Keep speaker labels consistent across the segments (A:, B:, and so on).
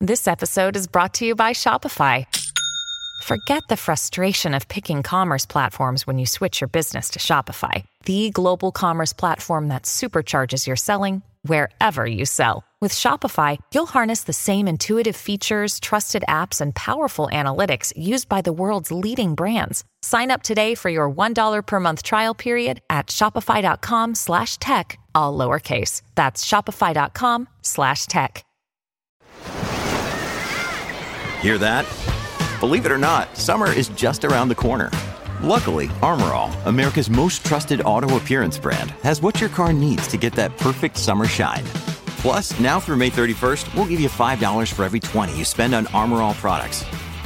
A: This episode is brought to you by Shopify. Forget the frustration of picking commerce platforms when you switch your business to Shopify, the global commerce platform that supercharges your selling wherever you sell. With Shopify, you'll harness the same intuitive features, trusted apps, and powerful analytics used by the world's leading brands. Sign up today for your $1 per month trial period at shopify.com slash tech, all lowercase. That's shopify.com slash tech.
B: Hear that? Believe it or not, summer is just around the corner. Luckily, Armorall, America's most trusted auto appearance brand, has what your car needs to get that perfect summer shine. Plus, now through May 31st, we'll give you $5 for every 20 you spend on Armorall products.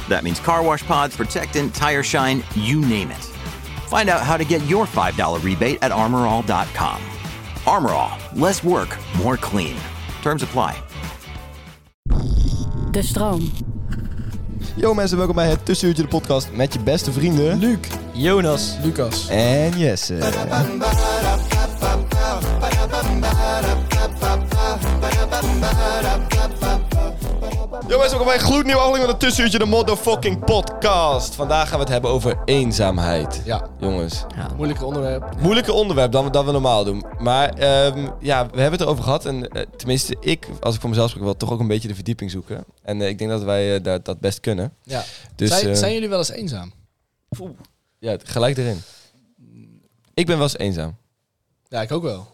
B: That means car wash pods, protectant, tire shine, you name it. Find out how to get your $5 rebate at armorall.com. Armorall, less work, more clean. Terms apply.
C: De stroom.
D: Yo mensen, welkom bij het Tussenuurtje de podcast met je beste vrienden... Luc, Jonas
E: Lucas.
D: en Jesse. Yo mensen, welkom bij een gloednieuwe aflevering van het Tussenuurtje de motherfucking podcast. Vandaag gaan we het hebben over eenzaamheid.
E: Ja.
D: Jongens,
E: Moeilijke onderwerp.
D: moeilijker onderwerp dan we, dan we normaal doen. Maar ehm, ja, we hebben het erover gehad. En eh, tenminste, ik, als ik voor mezelf spreek, wil toch ook een beetje de verdieping zoeken. En eh, ik denk dat wij eh, dat, dat best kunnen.
E: Ja.
D: Dus,
E: zijn,
D: eh,
E: zijn jullie wel eens eenzaam?
D: Ja, gelijk erin. Ik ben wel eens eenzaam.
E: Ja, ik ook wel.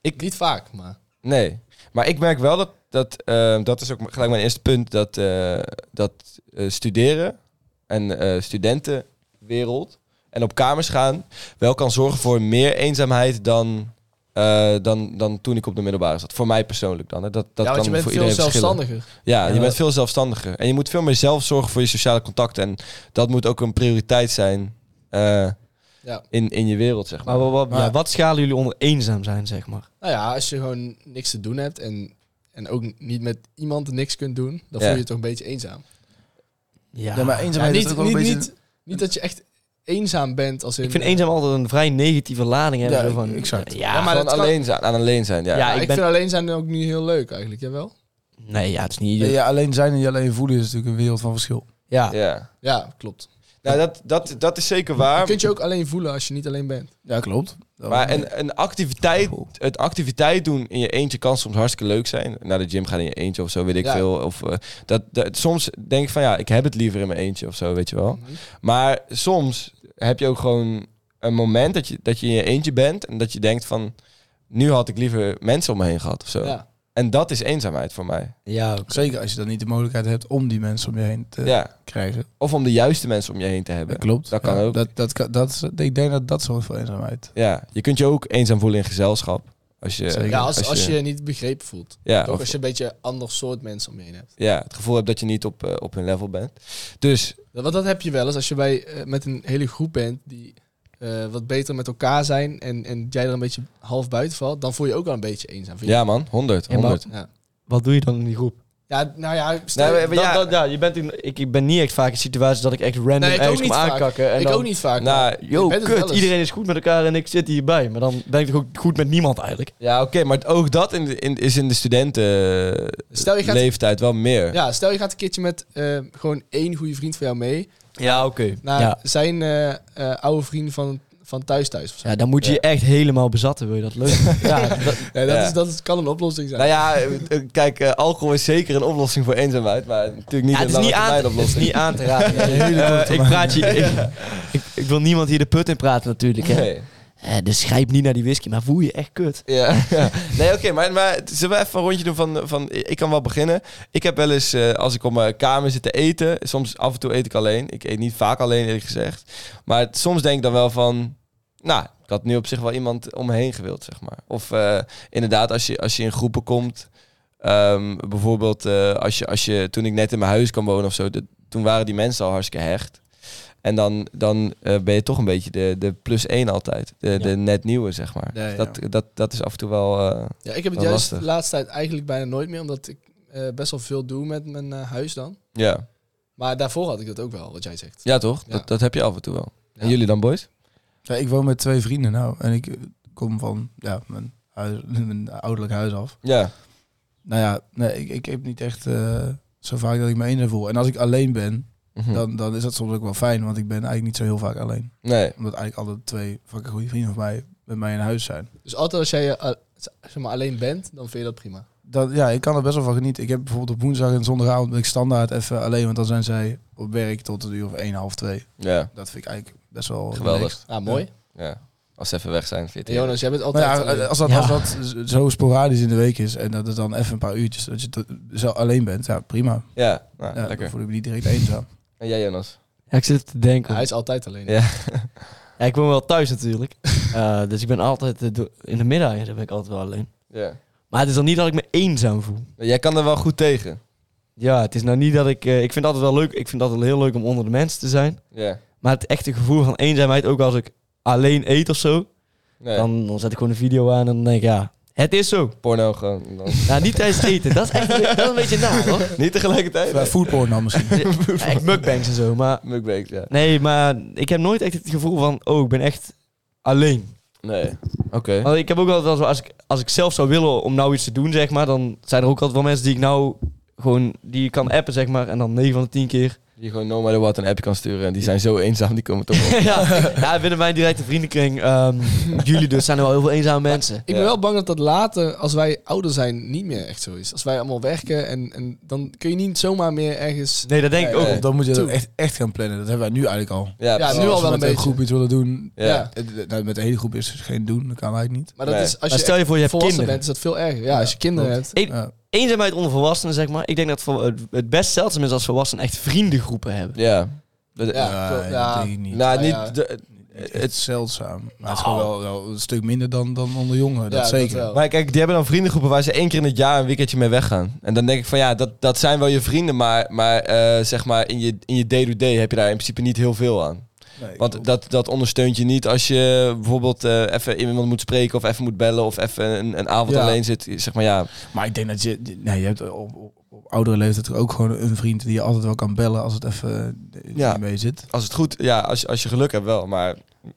D: Ik-
E: Niet vaak, maar...
D: Nee. Maar ik merk wel dat, dat, eh, dat is ook gelijk mijn eerste punt, dat, eh, dat eh, studeren en eh, studentenwereld en op kamers gaan wel kan zorgen voor meer eenzaamheid dan, eh, dan, dan toen ik op de middelbare zat. Voor mij persoonlijk dan. Hè. Dat, dat kan
E: ja, want je bent
D: voor
E: veel
D: iedereen verschillen.
E: zelfstandiger.
D: Ja, je
E: Ja.
D: bent veel zelfstandiger. En je moet veel meer zelf zorgen voor je sociale contacten. En dat moet ook een prioriteit zijn eh,
E: Ja.
D: in, in je wereld, zeg maar.
F: Maar wat, wat,
E: Maar-
F: Ah, ja, wat schalen jullie onder eenzaam zijn, zeg maar?
E: Nou ja, als je gewoon niks te doen hebt en, en ook niet met iemand niks kunt doen, dan
D: Ja.
E: voel je je toch een beetje eenzaam.
F: Ja,
G: Ja, maar eenzaamheid
E: niet,
G: is
E: niet,
G: ook wel een beetje...
E: niet, niet dat je echt eenzaam bent als in...
F: ik vind eenzaam altijd een vrij negatieve lading hebben.
G: Ja,
F: zo van,
G: exact.
F: Ja,
E: Ja, maar
D: maar
E: dat kan-
D: alleen zijn, aan alleen zijn, ja.
F: Ja,
E: Ja,
F: ik
E: ik,
F: ben-
E: vind alleen zijn ook niet heel leuk eigenlijk, jawel?
F: nee, ja, het is niet...
G: Ja,
F: Ja,
G: ja, alleen zijn en je alleen voelen is natuurlijk een wereld van verschil.
D: Ja.
E: Ja, klopt.
D: Nou, dat, dat, dat is zeker
E: Je
D: waar.
E: kunt je ook alleen voelen als je niet alleen bent.
G: Ja, klopt.
D: Maar een, een activiteit,
E: Oh.
D: het activiteit doen in je eentje kan soms hartstikke leuk zijn. Naar de gym gaan in je eentje of zo, weet ik
E: Ja.
D: veel. Of, eh, dat, dat, soms denk ik van ja, ik heb het liever in mijn eentje of zo, weet je wel.
E: Mhm.
D: Maar soms heb je ook gewoon een moment dat je, dat je in je eentje bent en dat je denkt van nu had ik liever mensen om me heen gehad of zo.
E: Ja.
D: En dat is eenzaamheid voor mij.
F: ja, ook.
G: Zeker als je dan niet de mogelijkheid hebt om die mensen om je heen te
D: Ja.
G: krijgen.
D: Of om de juiste mensen om je heen te hebben.
G: Dat klopt.
D: Dat kan
G: Ja,
D: ook.
G: Dat, dat, kan- dat, is- ik denk dat dat zorgt voor eenzaamheid.
D: Ja, je kunt je ook eenzaam voelen in gezelschap. Als je,
G: Zeker.
E: Ja, als, als je je niet begrepen voelt.
D: ja,
E: Toch
D: of-
E: als je een beetje ander soort mensen om je heen hebt.
D: ja, het gevoel hebt dat je niet op, eh, op hun level bent. Dus
E: Ja, Want dat heb je wel eens als je bij, eh, met een hele groep bent die eh, wat beter met elkaar zijn en, en jij er een beetje half buiten valt, dan voel je ook wel een beetje eenzaam. vind je?
D: ja man, 100,
F: Ja, maar-
D: 100.
E: Ja.
F: Wat doe je dan in die groep?
E: ja, nou ja, stel-
D: Nee, maar- maar
F: Dat,
D: ja,
F: dat- ja, je bent in, ik, ik ben niet echt vaak in situaties dat ik echt random
E: Nee, ik ook
F: ergens
E: niet
F: kom
E: vaak.
F: aankakken. En
E: ik
F: dan,
E: ook niet vaak. maar-
D: nou,
F: Yo,
E: Ik ben het wel
F: kut,
E: eens.
F: iedereen is goed met elkaar en ik zit hierbij. Maar dan ben ik toch ook goed met niemand eigenlijk.
D: ja, oké, maar ook dat in, de- in, is in de
E: Stel, je gaat-
D: studentenleeftijd wel meer.
E: ja, stel je gaat een keertje met eh, gewoon één goede vriend van jou mee
F: Ja, oké.
E: naar
F: Ja.
E: zijn eh, eh, oude vriend van, van thuis thuis. Of zo.
F: ja, dan moet je je echt helemaal bezatten, wil je dat leuk? ja, dat,
E: Ja, dat,
D: Ja.
E: Is, dat is- kan een oplossing zijn.
D: Nou ja, eh, eh, kijk, eh, alcohol is zeker een oplossing voor eenzaamheid, maar natuurlijk niet
F: Ja, het,
D: een
F: is
D: lange
F: niet aan,
D: termijn
F: het is
D: oplossing.
F: niet aan te raden. Eh, ik, praat je, ik, ik, ik wil niemand hier de put in praten natuurlijk. Hè.
D: Nee.
F: Eh, dus grijp niet naar die whisky, maar voel je echt kut.
D: Ja, ja. nee, oké, maar, maar zullen we even een rondje doen van, van ik kan wel beginnen. Ik heb wel eens, eh, als ik op mijn kamer zit te eten, soms af en toe eet ik alleen. Ik eet niet vaak alleen, eerlijk gezegd. Maar het- soms denk ik dan wel van, nou, ik had nu op zich wel iemand om me heen gewild, zeg maar. Of eh, inderdaad, als je, als je in groepen komt, ehm, bijvoorbeeld eh, als je, als je, toen ik net in mijn huis kwam wonen of zo, dat- toen waren die mensen al hartstikke hecht. En dan, dan eh, ben je toch een beetje de, de plus één altijd. De, de net nieuwe, zeg maar. Dus
G: Ja, ja.
D: dat, dat, dat is af en toe wel... eh,
E: ja, ik heb het
D: wel
E: juist de
D: lastig.
E: laatste tijd eigenlijk bijna nooit meer, omdat ik eh, best wel veel doe met mijn eh, huis dan.
D: ja.
E: Maar daarvoor had ik dat ook wel, wat jij zegt.
D: ja, toch?
E: Ja.
D: Dat, dat heb je af en toe wel. En
E: Ja.
D: jullie dan, boys?
G: Ja, ik woon met twee vrienden nou. En ik eh, kom van ja, mijn, huis, mijn ouderlijk huis af.
D: Ja.
G: Nou ja, nee, ik, ik heb niet echt eh, zo vaak dat ik me eenzaam voel. En als ik alleen ben,
D: Mhm.
G: dan, dan is dat soms ook wel fijn. Want ik ben eigenlijk niet zo heel vaak alleen.
D: Nee.
G: Omdat eigenlijk alle twee fucking goede vrienden van mij met mij in huis zijn.
E: Dus altijd als jij eh, al- zeg maar, alleen bent, dan vind je dat prima.
G: Dat, ja, ik kan er best wel van genieten. Ik heb bijvoorbeeld op woensdag en zondagavond ben ik standaard even alleen. Want dan zijn zij op werk tot een uur of 1, half 2.
D: Ja.
G: Dat vind ik eigenlijk best wel
D: Geweldig.
G: relaxed.
E: Ah, mooi.
D: ja. Als ze even weg zijn, vind
E: En
D: je het
E: Jonas, jij bent altijd eh,
G: Nou ja,
E: alleen.
G: als dat,
F: Ja.
G: als dat zo sporadisch in de week is en dat het dan even een paar uurtjes dat je tot- zo alleen bent, ja
E: Ah,
G: prima.
D: heerlijk. Ja, nou,
G: Ja, Dan
D: lekker.
G: voel ik me niet direct eenzaam.
D: En jij, Jonas?
F: Ja, ik zit te
G: eh,
F: denken.
E: Hij is altijd alleen.
D: Ja.
F: Ja, ik woon wel thuis natuurlijk. Eh, dus ik ben altijd... eh, do- in de middag ben ik altijd wel alleen.
D: Ja.
F: Maar het is dan niet dat ik me eenzaam voel.
D: Jij kan er wel goed tegen.
F: Ja, het is nou niet dat ik... eh, ik vind het altijd wel leuk. Ik vind het altijd heel leuk om onder de mensen te zijn.
D: Ja.
F: Maar het echte gevoel van eenzaamheid, ook als ik alleen eet of zo...
D: Nee.
F: Dan, dan zet ik gewoon een video aan en dan denk ik, ja, het is zo.
D: Porno gewoon. dan-
F: Nou, niet tijdens het eten. Dat is echt dat is een beetje na, hoor.
D: Niet tegelijkertijd.
G: Bij foodporn dan misschien.
F: Ja, echt mukbangs en zo, maar...
D: Mukbang, ja.
F: Nee, maar ik heb nooit echt het gevoel van, oh, ik ben echt alleen.
D: Nee. Oké.
F: Want ik heb ook altijd wel zo, als ik, als ik zelf zou willen om nou iets te doen, zeg maar, dan zijn er ook altijd wel mensen die ik nou gewoon, die ik kan appen, zeg maar, en dan 9 van de 10 keer.
D: Die gewoon no matter what een appje kan sturen. En die zijn zo eenzaam, die komen toch op.
F: ja, ja, binnen mijn directe vriendenkring, ehm, jullie dus, zijn er wel heel veel eenzame mensen.
E: Ik ben wel bang dat dat later, als wij ouder zijn, niet meer echt zo is. Als wij allemaal werken en, en dan kun je niet zomaar meer ergens...
F: Nee, dat denk ik ook.
D: Nee.
G: Dan moet je dat
E: Toe.
G: echt, echt gaan plannen. Dat hebben wij nu eigenlijk al.
D: Ja,
E: Ja,
D: precies.
E: nu al
G: Als we
E: wel een
G: met een
E: beetje.
G: groep iets willen doen.
D: Ja.
E: Ja.
G: eh, nou, met de hele groep is het geen doen. Dat kan eigenlijk niet.
E: Maar dat
D: Nee.
E: is, als
F: Maar
E: je
F: stel je voor, je hebt
E: volwassen
F: kinderen.
E: bent, is dat veel erger. Ja, als je kinderen hebt.
F: Eén-
G: Ja.
F: Eenzaamheid onder volwassenen, zeg maar. Ik denk dat voor- het- het best zeldzaam is als volwassenen echt vriendengroepen hebben.
D: Ja. Dat-
E: Ja,
G: Ja,
E: klopt,
G: Eh, dat
E: ja.
G: denk ik niet.
D: Nou,
E: Ah,
D: niet...
E: ja.
D: de-
G: Niet echt zeldzaam. Maar het is gewoon wel, wel een stuk minder dan, dan onder jongeren. Nou. Dat
E: Ja,
G: zeker.
E: wel.
D: maar kijk, die hebben dan vriendengroepen waar ze één keer in het jaar een weekendje mee weggaan. En dan denk ik van ja, dat, dat zijn wel je vrienden, maar, maar eh, zeg maar in je in je day-to-day heb je daar in principe niet heel veel aan.
G: Nee,
D: Want dat, dat ondersteunt je niet als je bijvoorbeeld eh, even iemand moet spreken of even moet bellen of even een, een avond
E: Ja.
D: alleen zit. Zeg maar ja,
G: Maar ik denk dat je... Nee, je hebt op, op, op oudere leeftijd ook gewoon een vriend die je altijd wel kan bellen als het even eh,
D: Ja.
G: niet mee zit.
D: als het goed, ja, als, je- als je geluk hebt wel, maar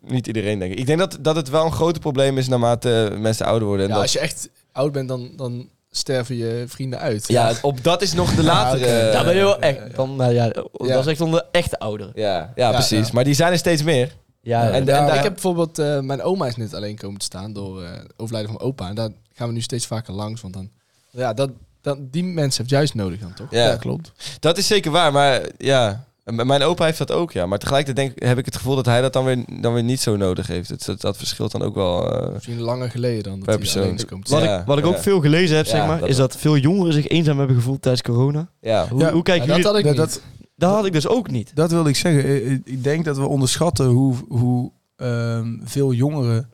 D: niet iedereen denk ik. Ik denk dat, dat het wel een groot probleem is naarmate mensen ouder worden. En
E: Ja,
D: dat-
E: als je echt oud bent, dan, dan sterven je vrienden uit.
D: ja, op dat is nog de latere.
G: oké.
F: Ja, ben je wel echt. Dan, maar ja, oh,
E: Ja.
F: Dat is echt onder echte ouderen.
D: ja, ja,
E: Ja,
D: precies.
E: ja.
D: Maar die zijn er steeds meer.
F: Ja,
D: En, en
G: Ja,
D: daar,
E: Ik heb bijvoorbeeld, eh, mijn oma is net alleen komen te staan door eh, het overlijden van mijn opa. En daar gaan we nu steeds vaker langs, want dan... Ja, dat, dat, die mensen heb je juist nodig dan, toch?
D: ja,
G: klopt.
D: dat is zeker waar. Maar ja, M- mijn opa heeft dat ook, ja. Maar tegelijkertijd denk, ik- heb ik het gevoel dat hij dat dan weer, dan weer niet zo nodig heeft. Het, dat, dat verschilt dan ook wel. eh,
E: Misschien langer geleden
D: Per
E: dan dat hij
D: persoon.
E: alleen is komen te
F: Wat,
E: staan.
D: Ja,
F: ik, wat ik ook
D: ja.
F: veel gelezen heb,
D: Ja,
F: zeg maar,
D: dat
F: is
D: wel.
F: dat veel jongeren zich eenzaam hebben gevoeld tijdens corona.
D: ja.
F: Hoe,
G: Ja.
F: hoe kijken
E: Ja, dat
F: jullie... Dat,
E: had ik
G: Dat,
E: niet.
G: dat,
F: had ik dus ook niet.
G: dat wilde ik zeggen. Eh, eh, Ik denk dat we onderschatten hoe, hoe ehm, veel jongeren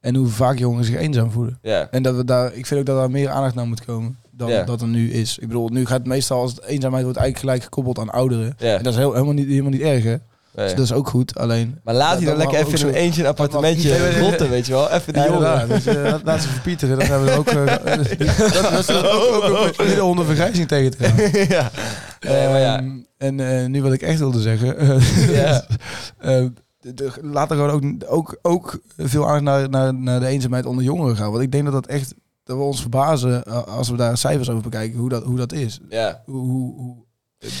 G: en hoe vaak jongeren zich eenzaam voelen.
D: Ja.
G: En dat we daar, ik vind ook dat daar meer aandacht naar moet komen dan
D: Ja.
G: dat er nu is. Ik bedoel, nu gaat het meestal als het eenzaamheid wordt eigenlijk gelijk gekoppeld aan ouderen.
D: Ja.
G: En dat is heel, helemaal, niet, helemaal niet erg, hè?
D: Nee.
G: Dus dat is ook goed. Alleen.
D: Maar Eh. laat hij
G: Ja,
D: dan
G: dat
D: lekker
G: mag
D: even in
G: ook
D: een
G: zo.
D: eentje een
G: mag-
D: appartementje
G: Nee, nee, nee.
D: rotten, weet je wel. Even die
G: Ja,
D: jongeren.
G: inderdaad. Dus, eh, laat- laat ze verpieteren. Dan hebben we er ook. eh, dat, dat is ook, ook een middel om de vergrijzing tegen te gaan.
D: ja. Nee, maar ja.
G: Ehm, en eh, nu wat ik echt wilde zeggen. eh,
D: Ja.
G: eh, de- de- laat er gewoon ook, ook, ook veel aandacht naar, naar, naar de eenzaamheid onder jongeren gaan. Want ik denk dat dat echt. Dat we ons verbazen eh, als we daar cijfers over bekijken. Hoe dat, hoe dat is.
D: ja.
G: Hoe, hoe, hoe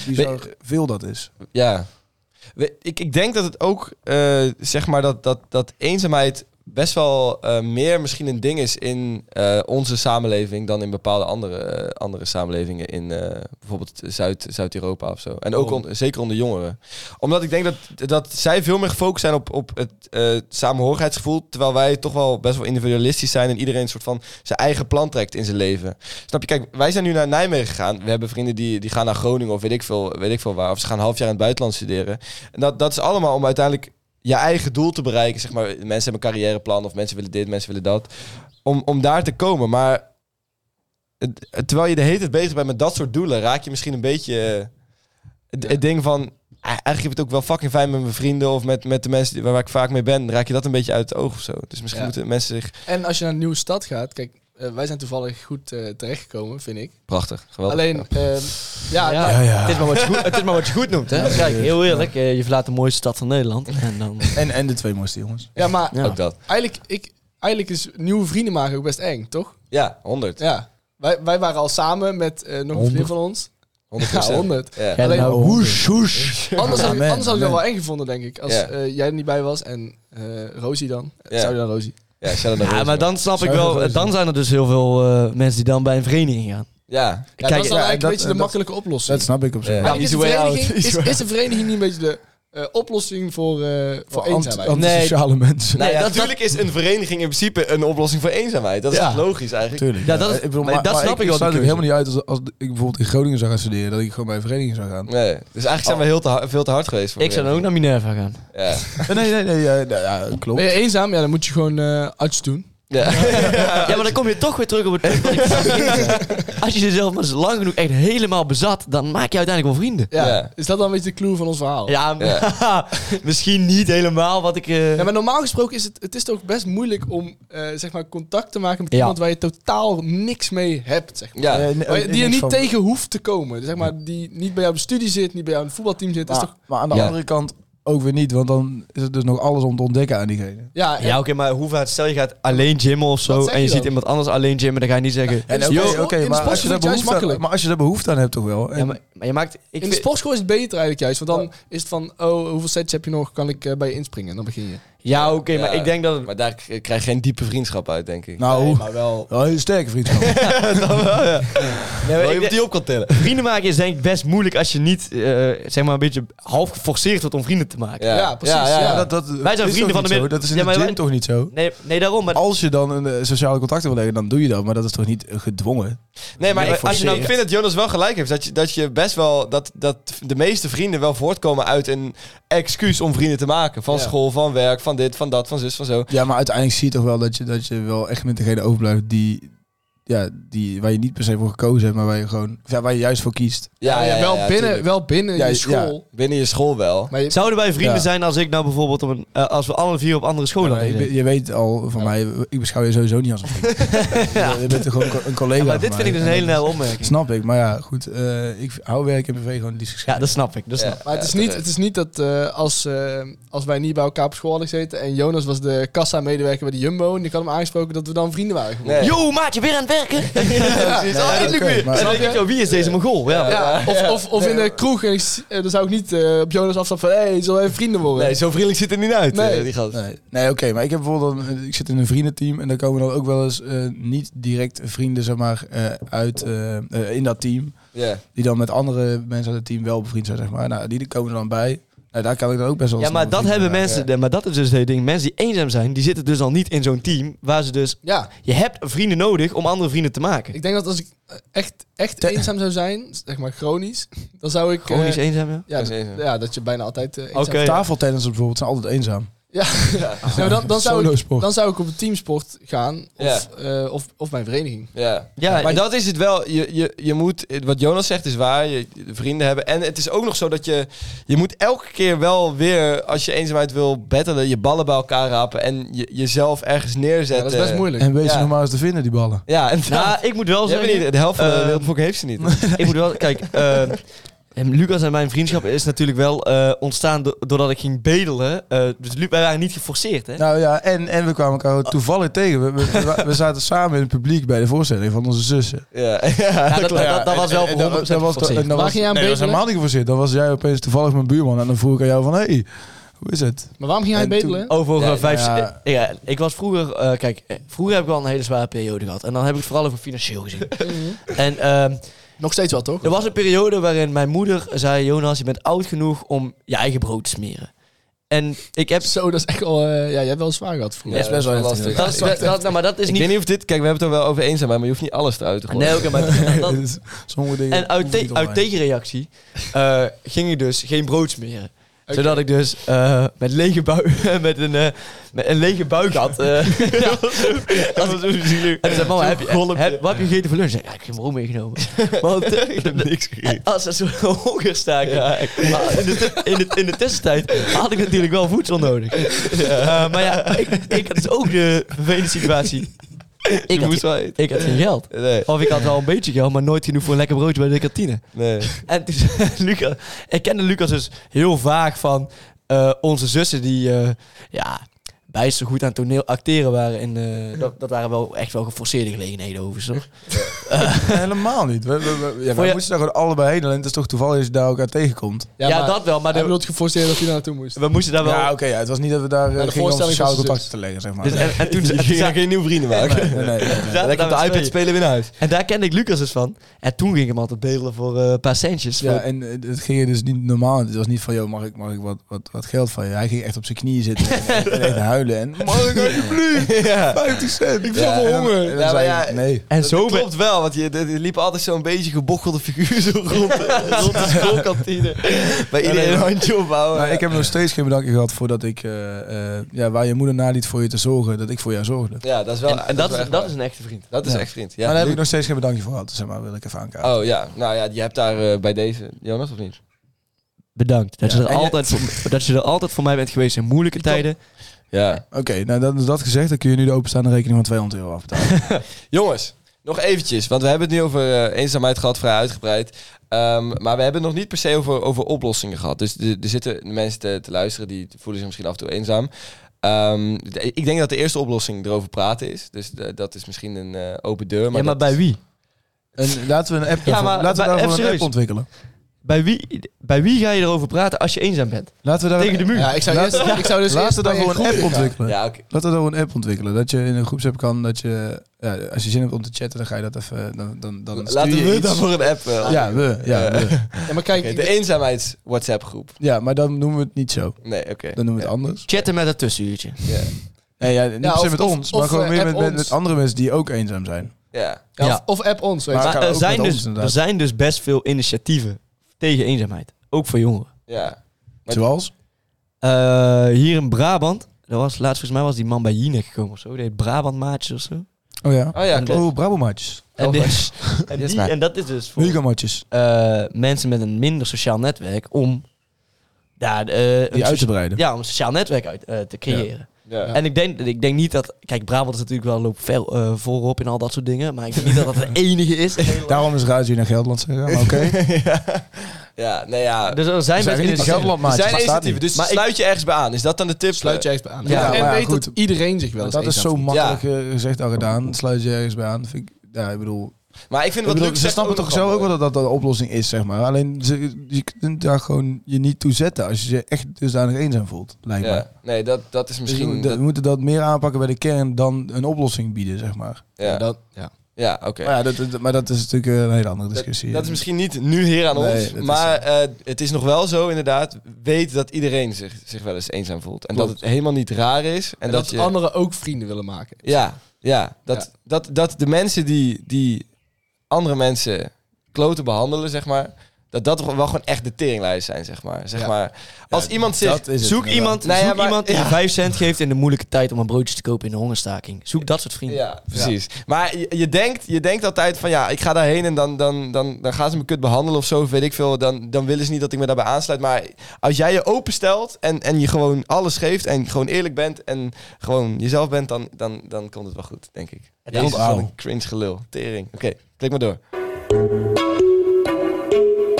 G: bizar veel dat is.
D: Ja. We- Ik, ik denk dat het ook, eh, zeg maar, dat, dat, dat eenzaamheid best wel eh, meer misschien een ding is in eh, onze samenleving dan in bepaalde andere, eh, andere samenlevingen in eh, bijvoorbeeld Zuid- Zuid-Europa of zo. En ook
F: Waarom?
D: on- zeker onder jongeren. Omdat ik denk dat, dat zij veel meer gefocust zijn op, op het eh, samenhorigheidsgevoel, terwijl wij toch wel best wel individualistisch zijn en iedereen een soort van zijn eigen plan trekt in zijn leven. Snap je? Kijk, wij zijn nu naar Nijmegen gegaan. We hebben vrienden die, die gaan naar Groningen of weet ik, veel, weet ik veel waar. Of ze gaan een half jaar in het buitenland studeren. En dat, dat is allemaal om uiteindelijk je eigen doel te bereiken. Zeg maar, mensen hebben een carrièreplan of mensen willen dit, mensen willen dat. Om, om daar te komen. Maar het- het- terwijl je de hele tijd bezig bent met dat soort doelen, raak je misschien een beetje eh, het, het ding van... "Ah, Eigenlijk heb ik het ook wel fucking fijn met mijn vrienden of met, met de mensen die- waar, waar ik vaak mee ben. Raak je dat een beetje uit het oog of zo. Dus misschien
E: Ja.
D: moeten mensen zich...
E: En als je naar een nieuwe stad gaat, kijk, eh, wij zijn toevallig goed eh, terechtgekomen, vind ik.
D: Prachtig, geweldig.
E: Alleen, ehm, ja,
F: Ja.
E: nou,
F: Het, is maar wat je goed, het is maar wat je goed noemt, hè. Kijk, heel eerlijk, eh, je verlaat de mooiste stad van Nederland. En dan...
G: En, en de twee mooiste jongens.
E: ja, maar
F: Ja.
D: Ook dat.
E: eigenlijk, ik, eigenlijk is nieuwe vrienden maken ook best eng, toch?
D: Ja, 100.
E: Ja. Wij, wij waren al samen met eh, nog een vriendin van ons.
D: 100%.
E: Ja, 100.
D: Ja.
F: Ja,
E: Alleen
F: nou,
G: Hoesh, hoesh.
E: Anders, had, ik-
G: Amen,
E: anders had ik dat
G: amen.
E: wel eng gevonden, denk ik. Als
D: Ja.
E: eh, jij er niet bij was en eh Rosie dan.
D: Ja.
E: Zou je dan Rosie?
D: Ja, Shadow
F: Ja,
D: Rosa.
F: maar dan snap ik
G: Zou je
F: wel,
G: dat
F: dan zijn er dus heel veel eh, mensen die dan bij een vereniging gaan.
D: Ja.
E: Ja, dat
F: Kijk,
E: is dan
G: ja,
E: eigenlijk
G: dat-
E: een beetje de
G: dat-
E: makkelijke oplossing.
G: Dat snap ik op zich.
D: Ja.
E: Maar is,
D: Easy
E: de
D: way out,
E: vereniging,
D: easy
E: is,
D: way
E: is de vereniging niet een beetje de eh, oplossing voor, eh voor
G: Ant-
E: eenzaamheid?
G: antisociale mensen.
D: Nou ja,
F: dat-
D: natuurlijk is een vereniging in principe een oplossing voor eenzaamheid. Dat is
F: Ja.
D: echt logisch eigenlijk.
G: Tuurlijk.
F: Ja, dat is- maar dat snap ik wel,
G: Ik
F: die
G: sluit het
F: keuze.
G: helemaal niet uit als, als ik bijvoorbeeld in Groningen zou gaan studeren. Dat ik gewoon bij een vereniging zou gaan.
D: Nee. Dus eigenlijk zijn we heel te, ha- veel te hard geweest. Voor
F: Oh. Ik zou dan ook naar Minerva gaan.
D: Ja.
G: Eh, nee, nee, nee. Ja, ja, ja, klopt.
E: Ben je eenzaam? Ja, dan moet je gewoon eh arts doen.
D: Ja.
F: Ja, maar dan kom je toch weer terug op het punt. dat ik zei. Als je jezelf maar zo lang genoeg echt helemaal bezat, dan maak je uiteindelijk wel vrienden.
E: Ja.
D: Ja.
E: Is dat dan een beetje de clue van ons verhaal?
F: Ja, misschien niet helemaal wat ik... eh,
E: Ja, maar normaal gesproken is het, het is toch best moeilijk om eh, zeg maar contact te maken met
F: Ja.
E: iemand waar je totaal niks mee hebt. Zeg maar.
D: Ja.
G: Eh, nee,
E: Waar je-
G: ook
E: die je
G: niks
E: niet
G: van-
E: tegen hoeft te komen. Zeg maar, die niet bij jou op de studie zit, niet bij jou in het voetbalteam zit.
G: Maar,
E: is toch,
G: maar aan de
D: Ja.
G: andere kant ook weer niet. Want dan is het dus nog alles om te ontdekken aan diegene.
E: ja,
F: Ja, oké, maar hoe vaak... Stel je gaat alleen gymmen of
E: Wat
F: zo
E: zeg
F: en je
E: je
F: ziet
E: dan?
F: iemand anders alleen gymmen, dan ga je niet zeggen...
E: En
G: Oké,
E: ook-
G: oké,
E: in de
G: maar, als je
E: sportschool
G: daar
E: is het juist
G: behoefte aan,
E: makkelijk.
G: maar als je daar behoefte aan hebt toch wel. En-
F: Ja, maar, maar je maakt... Ik
E: in
F: vind-
E: de sportschool is het beter eigenlijk juist. Want dan is het van, oh, hoeveel sets heb je nog? Kan ik eh, bij je inspringen? En dan begin je.
F: Ja, oké, maar
D: Ja.
F: ik denk dat... het-
D: Maar daar k- krijg je geen diepe vriendschap uit, denk ik.
G: nou,
E: Nee, maar wel.
G: wel een hele sterke vriendschap.
F: Nee, maar
D: Wel,
F: ik
D: je
F: denk-
D: die op kan tillen.
F: Vrienden maken is denk ik best moeilijk als je niet, eh, zeg maar, een beetje half geforceerd wordt om vrienden te maken.
E: Ja, precies,
D: Ja,
E: ja.
G: Maar dat, dat
F: Wij zijn vrienden
G: is toch
F: van
G: niet
F: de
G: zo?
F: mid-
G: Dat is in
F: Ja,
G: de
F: maar
G: gym
F: wij-
G: toch niet zo?
F: Nee, nee daarom. Maar
G: Als je dan een eh, sociale contacten wil leggen, dan doe je dat. Maar dat is toch niet eh, gedwongen?
D: Nee, maar
F: Nee,
D: als je nou,
F: forceren.
D: ik vind dat Jonas wel gelijk heeft. Dat je, dat je best wel. Dat, dat de meeste vrienden wel voortkomen uit een excuus om vrienden te maken. Van
E: Ja.
D: school, van werk, van dit, van dat, van zus, van zo.
G: Ja, maar uiteindelijk zie je toch wel dat je, dat je wel echt met degene overblijft die, ja, die, waar je niet per se voor gekozen hebt, maar waar je, gewoon, ja, waar je juist voor kiest.
E: Ja, ja, wel, binnen,
D: tuurlijk.
E: wel binnen
G: Ja,
E: je
G: ja.
E: school.
D: Binnen je school wel.
E: Maar je,
F: zouden wij vrienden
G: Ja.
F: zijn als ik nou bijvoorbeeld op een, eh, als we alle vier op andere scholen
G: Maar
F: hadden
G: je,
F: gezeten?
G: je weet al van mij, ik beschouw je sowieso niet als een vriend. Je- Je bent toch gewoon een collega.
F: Ja, maar
G: van
F: dit
G: mij.
F: vind ik dus een
G: En
F: hele
G: dat
F: nelle
G: is-
F: opmerking.
G: Snap ik, maar ja, goed. eh, ik hou werk en privé gewoon het liefst
F: Ja,
G: gescheiden.
F: dat snap ik. Dat snap ik.
E: Maar het,
D: Ja,
E: is niet,
D: terecht.
E: het is niet dat eh, als, eh, als wij niet bij elkaar op school hadden gezeten en Jonas was de kassa-medewerker bij de Jumbo en die had hem aangesproken dat we dan vrienden waren geworden.
D: Nee.
F: Yo, maat, je weer aan het werken?
D: Ja, precies.
G: Ja,
D: Oh, eindelijk
G: oké,
D: weer.
F: En
G: maar-
F: dan
E: Snap
F: denk ik,
E: je?
F: "Yo, wie is deze Mongool? Ja.
E: Ja, of of, of in de kroeg en ik s- eh, dan zou ik niet eh, op Jonas afstappen van hé, hey, zullen wij vrienden worden?
D: Nee, zo vriendelijk ziet het er niet uit.
E: Nee.
D: eh, die gast.
G: Nee, nee oké, maar ik heb bijvoorbeeld, dan, eh, ik zit in een vriendenteam en daar komen dan ook wel eens eh, niet direct vrienden, zeg maar, eh, uit eh, eh, in dat team.
D: Ja.
G: die dan met andere mensen uit het team wel bevriend zijn, zeg maar. Nou, die komen er dan bij. Nou, daar kan ik dan ook best wel
F: Ja,
G: snel
F: maar dat
G: bevriend
F: hebben
G: mee
F: mensen, maar dat is dus het ding. Mensen die eenzaam zijn, die zitten dus al niet in zo'n team waar ze dus...
E: Ja,
F: Je hebt vrienden nodig om andere vrienden te maken.
E: ik denk dat als ik eh, echt, echt
G: Te-
E: eenzaam zou zijn, zeg maar chronisch, dan zou ik... eh,
F: Chronisch eenzaam, ja?
E: ja,
D: Dat is
E: d-
D: eenzaam.
E: ja, dat je bijna altijd eh, eenzaam
F: Oké.
E: bent.
G: maken. Tafeltennissen bijvoorbeeld zijn altijd eenzaam.
E: Ja, Ja, maar dan, dan, zou ik,
G: Solosport.
E: dan zou ik op een teamsport gaan of,
D: Ja.
E: eh, of, of mijn vereniging.
D: Ja.
F: Ja,
D: maar
F: en-
D: dat is het wel. Je, je, je moet, wat Jonas zegt is waar, je vrienden hebben. En het is ook nog zo dat je, je moet elke keer wel weer, als je eenzaamheid wil battelen, je ballen bij elkaar rapen en je, jezelf ergens
E: Ja,
D: neerzetten.
E: dat is
F: eh,
E: best moeilijk.
G: En wees
D: Ja.
G: ze nog maar eens te vinden, die ballen.
D: Ja, en
F: Nou, ik moet wel
D: je hebt
F: zeggen...
D: niet, de helft van de
F: eh,
D: wereldvolk heeft ze niet.
F: ik moet wel, kijk, eh, Lucas en mijn vriendschap is natuurlijk wel eh, ontstaan do- doordat ik ging bedelen. Eh, dus Lu- wij waren niet geforceerd, hè?
G: Nou ja, en, en we kwamen elkaar toevallig tegen. We, we, we zaten samen in het publiek bij de voorstelling van onze zussen.
D: Ja, ja,
F: Ja, Nou, dat,
D: klopt.
F: dat, dat was wel voor
G: En dat-
F: 100%
G: dat was,
F: geforceerd.
G: en dat
E: Waar
G: was,
E: ging jij aan
G: nee,
E: bedelen?
G: dat was helemaal niet geforceerd. Dan was jij opeens toevallig mijn buurman. En dan vroeg ik aan jou van, hé, hey, hoe is het?
E: Maar waarom ging hij
G: En toen- Oh.
E: bedelen?
F: Over
D: Ja,
F: eh, vijf...
G: ja.
F: eh, ja, ik was vroeger... eh, kijk, eh, vroeger heb ik wel een hele zware periode gehad. En dan heb ik het vooral over financieel gezien. en ehm,
E: Nog steeds wel, toch?
F: er was een periode waarin mijn moeder zei... Jonas, je bent oud genoeg om je eigen brood te smeren. En ik heb...
E: Zo, dat is echt wel... eh, ja, jij hebt wel zwaar gehad vroeger.
D: Ja, dat is wel lastig.
F: Dat is, dat, dat- nou, maar dat is
D: Ik weet
F: niet...
D: niet of dit, kijk, we hebben het er wel over eenzaamheid, maar je hoeft niet alles eruit te gooien.
F: Nee, oké, maar dat,
G: Dus Sommige dingen...
F: En uit,
G: hoeven
F: te-
G: niet
F: uit
G: online.
F: tegenreactie eh, ging ik dus geen brood smeren. Zodat ik dus eh, met, lege bui- met, een, eh, met een lege buik had. eh, ja. Dat was zo zielig. En ik zei, mama, heb je, heb, wat heb je gegeten voor lunch? Ik zei, ja, ik heb geen brood meegenomen. Want eh,
D: niks gegeten.
F: als er zo'n hongerstaking... Maar in, de, tu- in, de, in de tussentijd had ik natuurlijk wel voedsel nodig. Eh, maar ja, ik, ik had dus ook de vervelende situatie. Ik
D: Je
F: had,
D: moest
F: ge-
D: wel eten.
F: ik had geen geld.
D: Nee,
F: Of ik had wel een beetje geld, maar nooit genoeg voor een lekker broodje bij de kantine.
D: nee.
F: En toen zei Lucas, ik kende Lucas dus heel vaag van eh, onze zussen die, eh, ja, bijster goed aan toneel acteren waren. En eh, dat, dat waren wel echt wel geforceerde gelegenheden overigens. hoor.
G: Helemaal niet. We, we- we- ja, wij
F: je-
G: moesten daar gewoon allebei heen. Alleen het is toch toevallig dat je daar elkaar tegenkomt.
F: Ja,
E: maar
F: dat wel. Maar
E: Hij
F: de-
E: bedoelt geforceerd dat hij daar naartoe moest.
F: we moesten daar wel... Nou,
G: Ja, oké. ja, het was niet dat we daar eh,
E: de
G: gingen om
E: voorstelling
G: sociaal
E: was dus-
G: contacten te leggen, zeg maar.
F: dus, en, en toen,
D: Je
F: en toen
D: ging daar
F: zaten-
D: geen nieuwe vrienden maken.
G: Nee, nee, nee, nee.
F: zaten
D: Lekker op de
F: daar met
D: iPad
F: tweeën.
D: spelen weer naar huis.
F: En daar kende ik Lucas dus van. En toen ging ik hem altijd bedelen voor eh, een paar centjes.
G: Ja,
F: Voor-
G: en eh, het ging dus niet normaal. Het was niet van, joh, mag ik, mag ik wat, wat, wat geld van je? Hij ging echt op zijn knieën zitten en, en echt huilen. En, mag ik alsjeblieft? 50 cent. Ik
D: heb zoveel honger.
G: En
D: Ja,
G: dan
D: maar
G: zei
D: ja,
G: ik, nee.
F: en zo
D: dat
F: ben-
D: klopt wel, want je, er er liep altijd zo'n beetje gebochelde figuur zo rond, de- rond de schoolkantine. Bij iedereen een handje ophouden.
G: Maar Nou, ik heb nog steeds geen bedankje gehad voordat ik, eh, eh, ja, waar je moeder naliet voor je te zorgen, dat ik voor jou zorgde.
D: ja, dat is wel.
F: En, en dat,
D: wel
F: is,
D: echt
F: dat
D: waar.
F: is een echte vriend.
D: dat is
G: Ja.
D: echt vriend.
G: maar
D: Ja,
G: daar heb ik
D: Luc-
G: nog steeds geen bedankje voor gehad, zeg maar, wil ik even aankaarten.
D: Oh ja, nou ja, je hebt daar eh, bij deze. Jonas of niet?
F: Bedankt. Dat,
G: Ja.
F: je er
G: En je-
F: altijd voor, dat je er altijd voor mij bent geweest in moeilijke tijden.
D: Ja.
F: Oh.
G: Oké, nou dat is dat gezegd, dan kun je nu de openstaande rekening van 200 euro afbetalen.
D: Jongens, nog eventjes, want we hebben het nu over eh, eenzaamheid gehad, vrij uitgebreid. Ehm, maar we hebben het nog niet per se over, over oplossingen gehad. Dus de- er zitten mensen te, te luisteren die voelen zich misschien af en toe eenzaam. Ehm, de- ik denk dat de eerste oplossing erover praten is. Dus de- dat is misschien een eh, open deur. Maar
F: ja, maar
D: dat-
F: bij wie?
G: en laten we een app,
F: Ja, maar
G: daarvoor- laten we
F: bij-
G: daarvoor
F: even
G: een app
F: serieus.
G: ontwikkelen.
F: Bij wie, bij wie ga je erover praten als je eenzaam bent?
G: Laten we daar
F: Tegen de muur.
E: Ja, ik zou,
G: Laat-
E: eerst, ik zou dus eerst
G: Laten we
E: bij
G: daarvoor een
E: groep
G: app
E: gaan.
G: ontwikkelen.
D: Ja, oké.
G: Laten we dan een app ontwikkelen. Dat je in een groepsapp kan, dat je, ja, als je zin hebt om te chatten, dan ga je dat even, eh, dan, dan, dan stuur
D: Laten
G: je
D: we
G: iets.
D: daarvoor een app. eh,
G: Ja, we, ja,
D: Eh,
G: we.
E: Ja, maar kijk,
D: oké, de
G: e-
D: eenzaamheids WhatsApp groep.
G: ja, maar dan noemen we het niet zo.
D: Nee, oké.
G: Dan noemen we het anders.
F: Chatten met een tussenuurtje.
D: Ja.
G: Nee, ja, niet
E: Ja,
G: per se
E: of-
G: met
E: of-
G: ons,
E: of,
G: maar gewoon
E: eh,
G: meer
E: app
G: met, met,
E: ons.
G: met andere mensen die ook eenzaam zijn.
D: ja.
E: ja,
F: Ja.
E: Of, of app ons. Weet je.
F: Maar
G: Maar- kan
F: er
G: ook
F: zijn,
G: met ons,
F: dus, er
G: inderdaad.
F: zijn dus best veel initiatieven tegen eenzaamheid. Ook voor jongeren.
D: ja. Maar-
G: Zoals?
F: Eh, hier in Brabant, dat was, laatst volgens mij was die man bij Jinek gekomen of zo. Die heet Brabant Maatjes of zo.
G: Oh ja.
D: Oh ja, klopt.
G: Oh, Brabo-matjes.
F: En,
D: Oh,
F: die-
D: nice.
F: en,
G: Yes,
F: die-
G: man.
F: en dat is dus voor
G: Liga-matjes.
F: eh, mensen met een minder sociaal netwerk om daar eh, een
G: Die uit te
F: socia-
G: breiden.
F: ja, om een sociaal netwerk uit eh, te creëren.
D: Ja.
F: En ik denk, ik denk niet dat... Kijk, Brabant is natuurlijk wel loopt ver eh, voorop in al dat soort dingen. Maar ik denk niet dat dat de enige is.
G: Daarom is Radio naar Gelderland gegaan, maar oké.
D: ja, nee, ja.
F: Dus er zijn
G: We zijn
F: mensen
G: niet
F: in
G: de
F: het
G: Gelderland,
D: Er
G: maatjes.
D: zijn
G: maar staat
D: initiatieven,
G: niet.
D: dus
F: Maar ik-
D: sluit je ergens bij aan. Is dat dan de tip?
E: Sluit je ergens bij aan.
F: Ja,
E: en
G: maar ja,
E: weet
G: goed.
E: dat iedereen zich wel
G: Maar
E: eens
G: Dat is zo
E: eenzaam voelt.
G: makkelijk eh, gezegd en gedaan. Sluit je ergens bij aan. Vind ik, ja, ik bedoel,
D: Maar ik vind
G: Ik
D: wat
G: bedoel,
D: Luc
G: ze
D: zegt
G: snappen toch
D: nog
G: zelf ook wel
D: mooi.
G: dat dat de oplossing is, zeg maar. Alleen ze, je kunt daar gewoon je niet toe zetten als je je echt dusdanig eenzaam voelt, lijkt mij.
D: Ja. Nee, dat, dat is
G: Misschien
D: misschien...
G: we
D: dat-
G: moeten dat meer aanpakken bij de kern dan een oplossing bieden, zeg maar.
E: Ja,
D: ja,
E: dat- ja.
D: ja oké.
G: Maar, ja, dat, dat- maar dat is natuurlijk eh, een hele andere discussie.
D: Dat, dat is misschien niet nu hier aan
G: Nee,
D: ons,
G: dat is
D: maar eh, het is nog wel zo inderdaad. Weet dat iedereen zich, zich wel eens eenzaam voelt. En dat
E: Klopt.
D: het helemaal niet raar is. En,
E: En
D: dat,
E: dat,
D: je...
E: anderen ook vrienden willen maken.
D: Ja, ja, dat,
E: Ja.
D: Dat, dat de mensen die, die andere mensen kloten behandelen, zeg maar... Dat dat wel gewoon echt de teringlijst zijn, zeg maar. Zeg
E: Ja.
D: maar als iemand zegt...
G: dat is het,
F: Zoek iemand,
D: Nee,
F: zoek
D: ja, maar-
F: iemand die
D: ja.
F: 5 cent geeft in de moeilijke tijd om een broodje te kopen in de hongerstaking. Zoek dat soort vrienden.
D: Ja, precies. Maar je, je denkt, je denkt altijd van ja, ik ga daarheen en dan, dan, dan, dan gaan ze me kut behandelen of zo, of weet ik veel. Dan, dan willen ze niet dat ik me daarbij aansluit. Maar als jij je openstelt en, en je gewoon alles geeft en gewoon eerlijk bent en gewoon jezelf bent, dan, dan, dan komt het wel goed, denk ik.
F: Het
D: Jezus,
F: is-
D: wat
G: Auw.
D: een cringe gelul. Tering. Oké, klik maar door.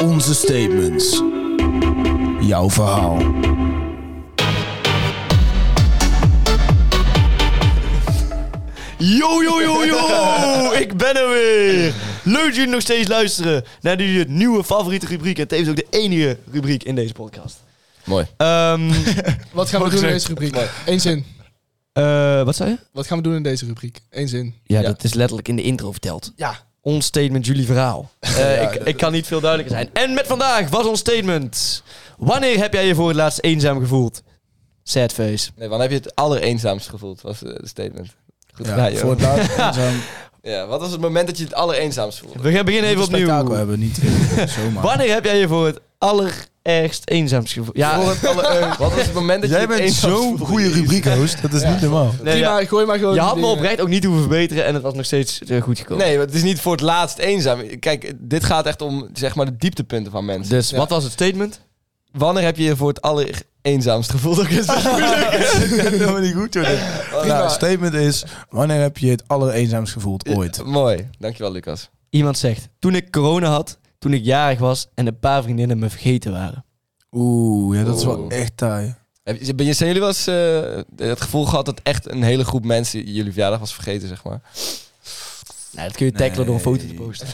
G: Onze statements. Jouw verhaal.
F: Yo, yo, yo, yo! ik ben er weer! Leuk dat jullie nog steeds luisteren naar die nieuwe favoriete rubriek. En tevens ook de enige rubriek in deze podcast.
D: Mooi.
F: Ehm,
E: Wat gaan we doen in deze rubriek? Eén zin.
F: eh, wat zei je?
E: Wat gaan we doen in deze rubriek? Eén zin.
F: Ja, dat is letterlijk in de intro verteld.
E: Ja.
F: Ons statement, jullie verhaal. Eh, ik, ik kan niet veel duidelijker zijn. En met vandaag was ons statement. Wanneer heb jij je voor het laatst eenzaam gevoeld? Sad face.
D: Nee, wanneer heb je het allereenzaamst gevoeld, was eh, de statement. Goed
G: Ja,
D: gedaan, joh.
G: voor het laatst eenzaam.
D: Ja, wat was het moment dat je het allereenzaamst voelde?
F: We gaan beginnen even
G: Moet een spektakel
F: opnieuw.
G: hebben, niet eh, zomaar.
F: Wanneer heb jij je voor het allerergst eenzaam gevoeld? Ja,
D: Voor het aller- wat was het moment dat
G: Jij
D: je het
G: bent
D: eenzaamst
G: zo'n
D: voelde?
G: goede rubriekhost, dat is niet normaal.
F: nee, ja.
E: Prima, gooi maar gewoon.
F: Je
E: die
F: had me
E: dingen.
F: oprecht ook niet hoeven verbeteren en het was nog steeds eh, goed gekomen.
D: Nee, maar het is niet voor het laatst eenzaam. Kijk, dit gaat echt om zeg maar de dieptepunten van mensen.
F: Dus
E: Ja.
F: wat was het statement?
D: Wanneer heb je je voor het allereenzaamst gevoeld? Dat is helemaal niet goed, joh.
G: Nou, statement is, wanneer heb je het allereenzaamst gevoeld ooit?
D: Mooi. Dankjewel, Lucas.
F: Iemand zegt, toen ik corona had, toen ik jarig was en een paar vriendinnen me vergeten waren.
G: Oeh, ja, dat is wel
D: Oeh.
G: echt taai.
D: Heb je- Ben je, zijn jullie wel eens eh, het gevoel gehad dat echt een hele groep mensen jullie verjaardag was vergeten, zeg maar?
F: Nou, dat kun je tackelen door een foto te
G: Nee.
F: posten.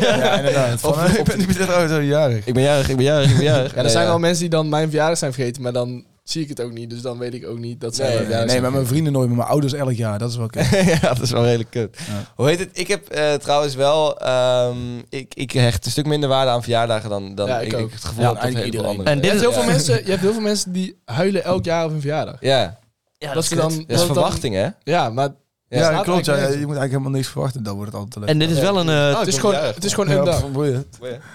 G: Ja, inderdaad. Van, eh, ik ben, ik ben net oh, zo jarig.
D: Ik ben jarig, ik ben jarig, ik ben jarig.
E: Ja, er zijn wel mensen die dan mijn verjaardag zijn vergeten, maar dan zie ik het ook niet. Dus dan weet ik ook niet dat zij
D: Nee,
E: mijn
G: Nee,
E: verjaardag
G: nee,
E: zijn
G: maar mijn vrienden nooit, maar mijn ouders elk jaar. Dat is wel kut.
D: ja, dat is wel redelijk kut.
G: Ja.
D: Hoe heet het? Ik heb eh, trouwens wel... ehm, ik, ik hecht een stuk minder waarde aan verjaardagen dan, dan
E: Ja, ik
D: ik,
E: ook.
D: het gevoel
G: Ja,
D: heb dat
G: eigenlijk
D: heel veel
G: iedereen.
D: anderen.
F: En dit-
E: Je hebt, heel veel
D: Ja.
E: mensen, je hebt heel veel mensen die huilen elk jaar op hun verjaardag.
D: Ja,
F: Ja,
E: dat ze dan,
D: dat is
E: dan-
D: verwachting, hè?
E: ja, maar
G: Ja,
E: staat
G: klopt. Ja, je moet
E: eigenlijk
G: eigenlijk helemaal niks verwachten. Dan wordt het altijd leuk.
F: En dit is wel een, eh,
D: Oh, ik
E: het, is
D: ben
E: gewoon,
D: jarig.
E: het is gewoon een dag.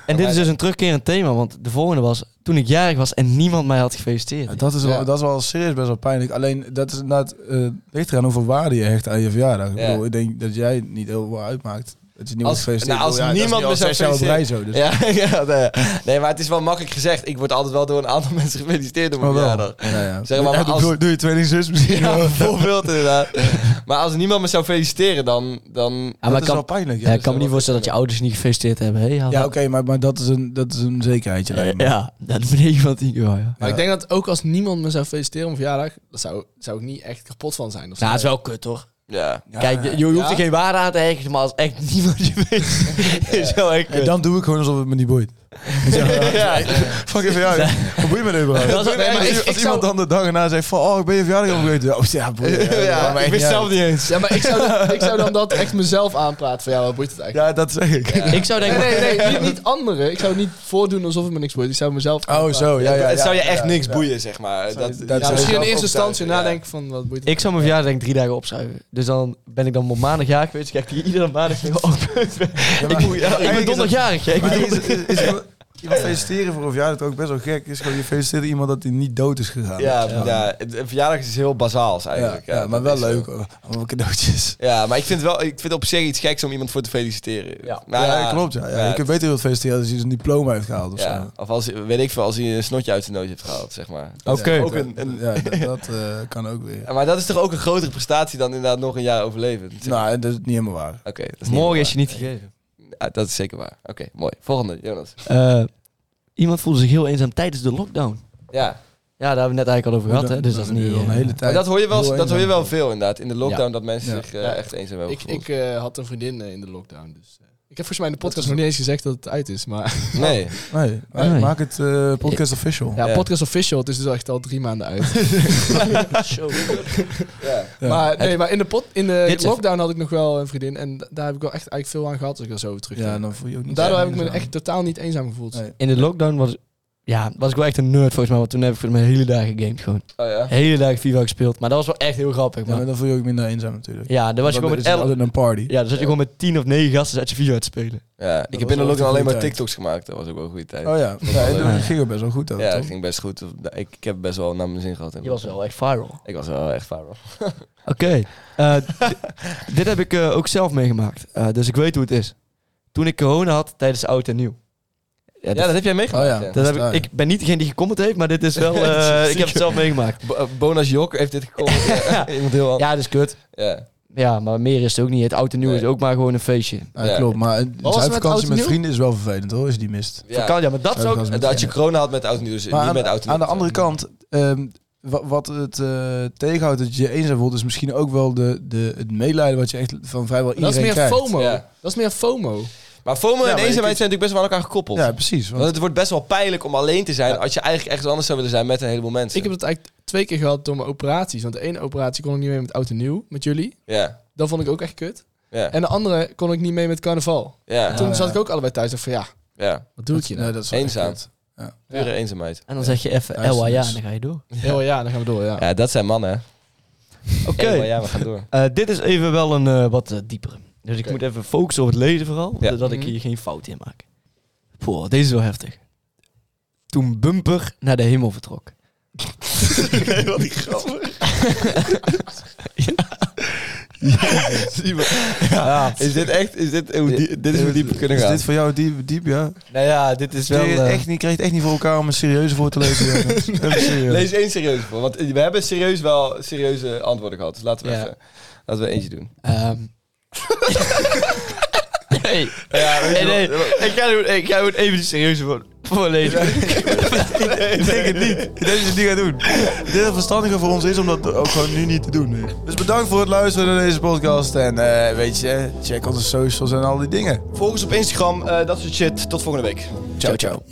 F: en dit is dus een terugkerend thema, want de volgende was toen ik jarig was en niemand mij had gefeliciteerd.
G: Ja, Dat is, wel,
E: Ja.
G: dat is wel serieus best wel pijnlijk. Alleen dat is inderdaad eh ligt eraan hoeveel waarde je hecht aan je verjaardag. Ik,
D: Ja.
G: bedoel, ik denk dat jij niet heel veel uitmaakt. Dat je niemand
D: Als-
G: gefeliciteerd
D: nou, als
G: wordt. Ja, dat is
D: niemand
G: nu al
D: me zou
G: zes jaar op rij zo. Dus.
D: Ja, ja nee. nee, maar het is wel makkelijk gezegd. Ik word altijd wel door een aantal mensen gefeliciteerd op mijn
G: Maar Oh, wel.
D: verjaardag.
G: Ja, ja.
D: Zeg maar,
G: Ja,
D: maar als-
G: doe, doe je tweelingzus misschien
D: Ja,
G: wel.
D: bijvoorbeeld inderdaad. Maar als niemand me zou feliciteren, dan... dan
F: Ja,
G: dat
F: maar
G: is
F: kan-
G: wel pijnlijk.
F: Ja,
G: Ja,
F: ik kan me niet voorstellen dat je ouders niet gefeliciteerd hebben. hè? Ja,
G: ja oké, maar, maar dat, is een, dat is een zekerheidje.
F: Ja,
G: lijkt me.
F: ja, dat ben ik van tien uur. Ja.
E: Maar
G: Ja.
E: ik denk dat ook als niemand me zou feliciteren op mijn verjaardag, daar zou, zou ik niet echt kapot van zijn. Of zo.
F: Nou, het is wel kut hoor.
D: ja.
G: Ja,
F: Kijk,
G: ja.
F: je, je hoeft er
E: Ja?
F: geen waarde aan te hechten, maar als echt niemand je weet, is wel echt
G: En
F: kut.
G: dan doe ik gewoon alsof het me niet boeit.
D: Ja,
G: Fuck even jou. Wat boeit me nu überhaupt?
F: Dat is-
G: Nee, maar
F: ik-
G: als
F: ik
G: als
F: zou-
G: iemand dan de dag erna zegt van... Oh, ik ben je verjaardag opgegeten. Ja, Oh, ja, boeit me. Ja, maar
D: ik
G: echt
D: wist
G: niet
D: zelf
G: uit.
D: niet eens.
E: Ja, maar ik zou, dan- ik zou dan dat echt mezelf aanpraten van ja, wat boeit het eigenlijk?
G: Ja, dat zeg ik.
F: Ik zou denken,
E: Nee, nee, nee, niet, niet anderen. Ik zou niet voordoen alsof het me niks boeit. Ik zou mezelf
G: Oh,
E: aanpraten.
G: zo. Ja, ja,
D: het
G: ja.
D: zou je echt niks boeien, zeg maar.
G: Zou je-
D: Dat,
G: dat
D: dat
E: Ja,
G: zou
E: misschien in
D: zelf
E: eerste instantie
D: overtuigen,
E: nadenken van wat boeit het.
F: ik zou mijn verjaardag denk ik drie dagen opschuiven. Dus dan ben ik dan op maandag jarig geweest. Kijk, die iedere maandag denk ik, oh, kut.
G: Ja,
F: ik,
G: maar-
F: moet- ik ben
G: eigenlijk is dat-
F: donderdag jarig. hè. Ik ben
G: Maar
F: donderdag-
G: is, is, is gewoon- iemand feliciteren voor een verjaardag toch ook best wel gek. Is gewoon je feliciteert iemand dat hij niet dood is gegaan.
D: Ja, ja. ja, het- een verjaardag is heel bazaals
G: ja,
D: eigenlijk. Ja,
G: ja, maar
D: dat
G: wel
D: is zo.
G: leuk. hoor. Allemaal cadeautjes.
D: Ja, maar ik vind, wel, ik vind het op zich iets geks om iemand voor te feliciteren.
F: Ja.
D: Nou
G: ja, klopt. Ja, ja. je kunt beter iemand feliciteren als hij zijn diploma heeft gehaald of
D: ja.
G: zo.
D: Of als, weet ik veel, als hij een snotje uit zijn neus heeft gehaald, zeg maar.
G: Oh,
F: Oké.
D: Ook een, een-
G: Ja, dat, dat, eh, kan ook weer.
D: maar dat is toch ook een grotere prestatie dan inderdaad nog een jaar overleven? Zeg maar.
G: Nou, dat is niet helemaal waar.
D: Oké, dat is niet
F: Morgen
D: waar.
F: is je niet gegeven.
D: Ja, dat is zeker waar. Oké, mooi. Volgende, Jonas.
F: Eh, iemand voelde zich heel eenzaam tijdens de lockdown.
D: Ja,
F: Ja, daar hebben we het net eigenlijk al over gehad. Hè? Dus dat is niet...
G: al een
F: eh,
G: hele
D: maar
G: tijd.
D: dat hoor je wel,
G: heel
D: dat hoor je
G: eenzaam.
D: wel veel inderdaad. In de lockdown dat mensen
G: Ja.
D: zich eh,
E: Ja.
D: echt eenzaam hebben
E: Ik,
D: gevoeld.
E: ik eh, had een vriendin eh, in de lockdown. Dus, eh, ik heb volgens mij in de podcast nog niet eens gezegd dat het uit is. Maar
D: nee. Oh,
G: Nee, maar
F: Nee.
G: maak het eh, podcast official.
E: ja,
D: Ja.
E: podcast official, het is dus echt al drie maanden uit.
D: Ja.
G: Ja.
E: Maar, nee, maar in de, pot, in de
F: Dit is-
E: lockdown had ik nog wel een vriendin. En da- daar heb ik wel echt eigenlijk veel aan gehad als ik er zo over terug
G: Ja, dan voel je ook niet
E: Daardoor
G: zo
E: heb ik me
G: eenzaam.
E: echt totaal niet eenzaam gevoeld.
G: Nee.
F: In de lockdown was, ja, was ik wel echt een nerd volgens mij. Want toen heb ik voor mijn hele dagen gegamed gewoon.
D: Oh ja.
F: Hele dagen FIFA gespeeld. Maar dat was wel echt heel grappig.
G: Ja, maar
F: Man.
G: dan voel je ook minder eenzaam natuurlijk.
F: Ja, dan was je gewoon
G: Dan
F: met
G: is het
F: elf...
G: altijd een party.
F: Ja, dan zat je gewoon met tien of negen gasten zat je FIFA uit te spelen.
D: ja. Ik heb in
G: was
D: de
G: wel echt een
D: lockdown alleen maar
G: goede tijd.
D: TikToks gemaakt. Dat was ook wel een goede tijd.
G: Oh ja, ja,
D: wel
G: dat ging er best wel goed over,
D: ja,
G: toch?
D: dat ging best goed. Nou, Ik, ik heb best wel naar mijn zin gehad.
F: Je was wel echt viral.
D: Ik was wel echt viral.
F: Oké. eh, di- dit heb ik eh, ook zelf meegemaakt. Eh, dus ik weet hoe het is. Toen ik corona had tijdens oud en nieuw.
D: Ja, dat heb jij meegemaakt.
G: Oh ja.
D: ja.
F: Dat heb
G: is waar.
F: ik, ik ben niet degene die gecomment heeft, maar dit is wel... eh, ik heb het zelf meegemaakt.
D: Bo- eh, Bonas Jok heeft dit gekocht. ja. Iemand heel anders.
F: Ja, dat is kut.
D: Ja.
F: Ja, maar meer is het ook niet. Het oud en nieuw
D: Nee.
F: is ook maar gewoon een feestje.
G: Ja,
D: Ja.
G: klopt. Maar een
E: was er met oud
G: vakantie
E: en
G: met
E: nieuw?
G: vrienden is wel vervelend hoor, als je die mist.
D: Ja.
F: Kan, ja, maar dat is ook...
G: Vakantie
D: En
G: met
D: dat je
G: vrienden.
D: corona had met oud en nieuw, dus
G: Maar
D: niet
G: aan,
D: met oud en
G: aan de
D: nieuw.
G: andere kant, ehm, wa- wat het eh, tegenhoudt dat je je eenzaam voelt, is misschien ook wel de, de, het meelijden wat je echt van vrijwel
E: Dat
G: iedereen
E: is meer
G: krijgt.
E: FOMO.
D: Ja.
E: Dat is meer FOMO.
D: Maar FOMO
G: Ja,
D: en
G: maar ik-
D: eenzaamheid zijn natuurlijk best wel aan elkaar gekoppeld.
G: Ja, precies.
D: Want
G: Want,
D: het wordt best wel pijnlijk om alleen te zijn als je eigenlijk ergens anders zou willen zijn met een heleboel mensen.
E: Ik heb dat eigenlijk twee keer gehad door mijn operaties. Want de ene operatie kon ik niet mee met oud en nieuw, met jullie.
D: Ja,
E: Dat vond ik ook echt kut.
D: ja,
E: En de andere kon ik niet mee met carnaval.
D: ja,
E: Toen
G: Ah, ja.
E: zat ik ook allebei thuis en dacht van ja,
D: ja.
E: wat doe ik hier nou?
G: nee, dat is wel
D: Eenzaam.
G: echt kut.
D: Pure eenzaamheid.
F: En dan zeg je even
G: Duisternis.
F: LWA ja, en dan ga je door.
E: Ja, ja, dan gaan we door, ja.
D: Ja, dat zijn mannen, hè.
F: Oké,
D: Ja, maar ja, we gaan door.
F: eh, dit is even wel een eh, wat eh, diepere. Dus ik moet even focussen op het lezen vooral,
D: Ja.
F: zodat ik
E: Mhm.
F: hier geen fout in maak. Poh, deze is wel heftig. Toen Bumper naar de hemel vertrok.
D: Nee, wat ik grappig.
F: Ja.
D: Is dit echt, is dit, hoe die- dit is hoe diep we kunnen
G: Is
D: gaan.
G: dit voor jou diep, diep ja?
F: Nou ja, dit is
G: Je
F: wel... eh,
G: echt niet, kreeg het echt niet voor elkaar om een serieuze voor te lezen. jongens. Even serieus.
D: Lees één serieus voor, want we hebben serieus wel serieuze antwoorden gehad. Dus laten we
F: Ja.
D: even, laten we eentje doen.
F: ehm. Hey. Hey, nee. Ik ga het ik ga het even serieus voor, voorlezen.
G: Ik denk het niet. Ik denk dat je het niet gaat doen. Ik denk dat het verstandiger voor ons is om dat ook gewoon nu niet te doen. Dus bedankt voor het luisteren naar deze podcast. En eh, weet je, check onze socials en al die dingen.
D: Volg ons op Instagram, eh, dat soort shit. Tot volgende week.
G: Ciao, ciao.